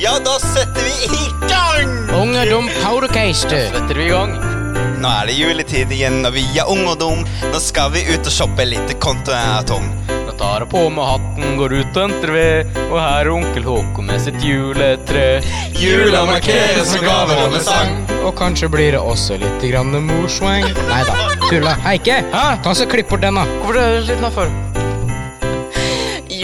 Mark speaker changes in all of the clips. Speaker 1: Ja, da setter vi i gang!
Speaker 2: Ungdom Powdercaster.
Speaker 3: Setter vi i gang?
Speaker 1: Nå er det juletid igjen, og vi er unge og dum. Nå skal vi ut og shoppe litt, kontoen er tom.
Speaker 3: Da tar jeg på meg hatten, går ut og entrer ved, og her er onkel Håkon med sitt juletre.
Speaker 1: Jula markeres med gaver og med sang.
Speaker 2: Og kanskje blir det også litt grann morswang. Nei da, tulla. Heike,
Speaker 3: Hæ?
Speaker 2: ta så klipp bort den, da.
Speaker 3: Hvorfor er du sliten for?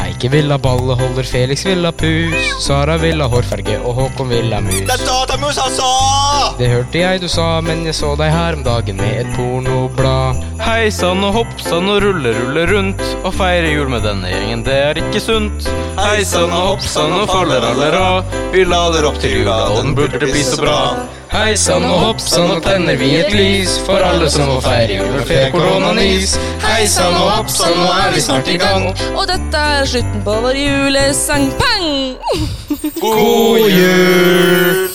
Speaker 2: Heike vil ha balleholder, Felix vil ha pus. Sara vil ha hårfarge, og Håkon vil ha mus.
Speaker 1: Det er datamus, altså!
Speaker 2: Det hørte jeg du sa, men jeg så deg her om dagen med et pornoblad.
Speaker 3: Hei sann og hopp sann og rulle, rulle rundt. Å feire jul med denne gjengen, det er ikke sunt. Hei sann og hopp sann og faller alle ra. Vi lader opp til jula, og den burde bli så bra.
Speaker 2: Hei sann Sånn og hopp sann, og tenner vi et lys for alle som må feire jul med fe koronanis. Hei sann og hopp sann, nå er vi snart i gang.
Speaker 4: Og dette er slutten på vår julesang. Pang!
Speaker 1: God jul!